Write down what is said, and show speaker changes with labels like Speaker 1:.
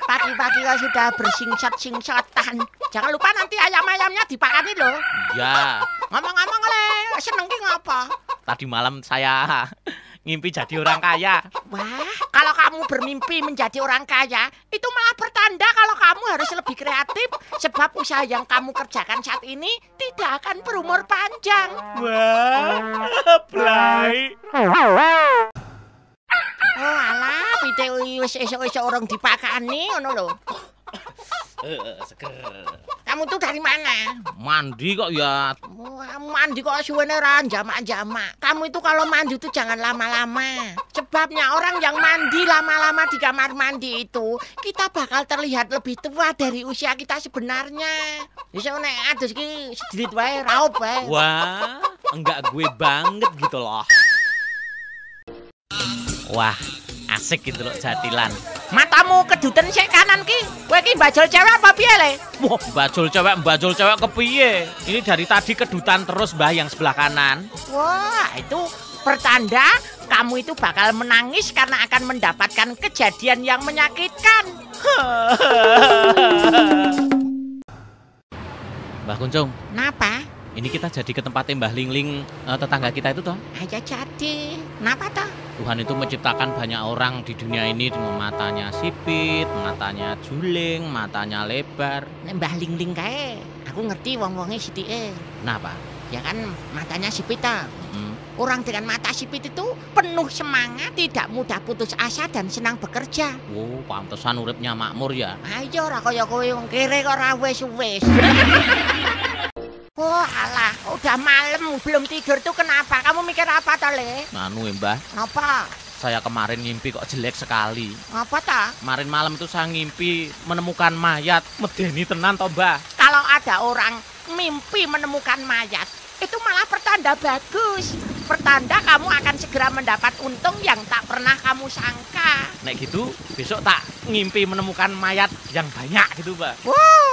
Speaker 1: kita sudah bersingsat-singsatan. Jangan lupa nanti ayam-ayamnya dipakani loh.
Speaker 2: Ya,
Speaker 1: Ngomong-ngomong le, seneng ki ngapa?
Speaker 2: tadi malam saya ngimpi jadi orang kaya.
Speaker 1: Wah, kalau kamu bermimpi menjadi orang kaya, itu malah pertanda kalau kamu harus lebih kreatif sebab usaha yang kamu kerjakan saat ini tidak akan berumur panjang.
Speaker 2: Wah, Blay.
Speaker 1: Oh alah, pitik wis esuk-esuk orang dipakani ngono lho.
Speaker 2: seger.
Speaker 1: Kamu tuh dari mana?
Speaker 2: Mandi kok ya.
Speaker 1: Wah, Mandi kok suwene ra jamak-jamak. Kamu itu kalau mandi itu jangan lama-lama. Sebabnya orang yang mandi lama-lama di kamar mandi itu, kita bakal terlihat lebih tua dari usia kita sebenarnya. Bisa nek adus ki sedikit wae raup wae.
Speaker 2: Wah, enggak gue banget gitu loh. Wah, asik gitu loh jatilan.
Speaker 1: Matamu keduten sik kanan ki. Kowe ki bajul cewek apa piye le?
Speaker 2: Wah, bajul cewek, bajul cewek kepiye? Ini dari tadi kedutan terus mbah yang sebelah kanan.
Speaker 1: Wah, itu pertanda kamu itu bakal menangis karena akan mendapatkan kejadian yang menyakitkan.
Speaker 2: Mbah Kuncung,
Speaker 1: Napa?
Speaker 2: ini kita jadi ke tempatnya Mbah Lingling eh, tetangga kita itu toh.
Speaker 1: Aja jadi. Napa toh?
Speaker 2: Tuhan itu menciptakan banyak orang di dunia ini dengan matanya sipit, matanya juling, matanya lebar.
Speaker 1: Nek Mbah Lingling kae, aku ngerti wong-wonge sithike.
Speaker 2: Kenapa?
Speaker 1: Ya kan matanya sipit ta.
Speaker 2: Nah, Hmm.
Speaker 1: Orang dengan mata sipit itu penuh semangat, tidak mudah putus asa dan senang bekerja.
Speaker 2: Wow, pantesan uripnya makmur ya.
Speaker 1: Ayo ora kaya kowe wong kere kok ora wis-wis. Oh alah, udah malam belum tidur tuh kenapa? Kamu mikir apa ta, Le?
Speaker 2: Anu ya, Mbah,
Speaker 1: Apa?
Speaker 2: saya kemarin ngimpi kok jelek sekali.
Speaker 1: Apa ta?
Speaker 2: Kemarin malam itu saya ngimpi menemukan mayat. Medeni tenan toh, Mbah.
Speaker 1: Kalau ada orang mimpi menemukan mayat, itu malah pertanda bagus. Pertanda kamu akan segera mendapat untung yang tak pernah kamu sangka.
Speaker 2: Nek gitu, besok tak ngimpi menemukan mayat yang banyak gitu, Mbah.
Speaker 1: Wow,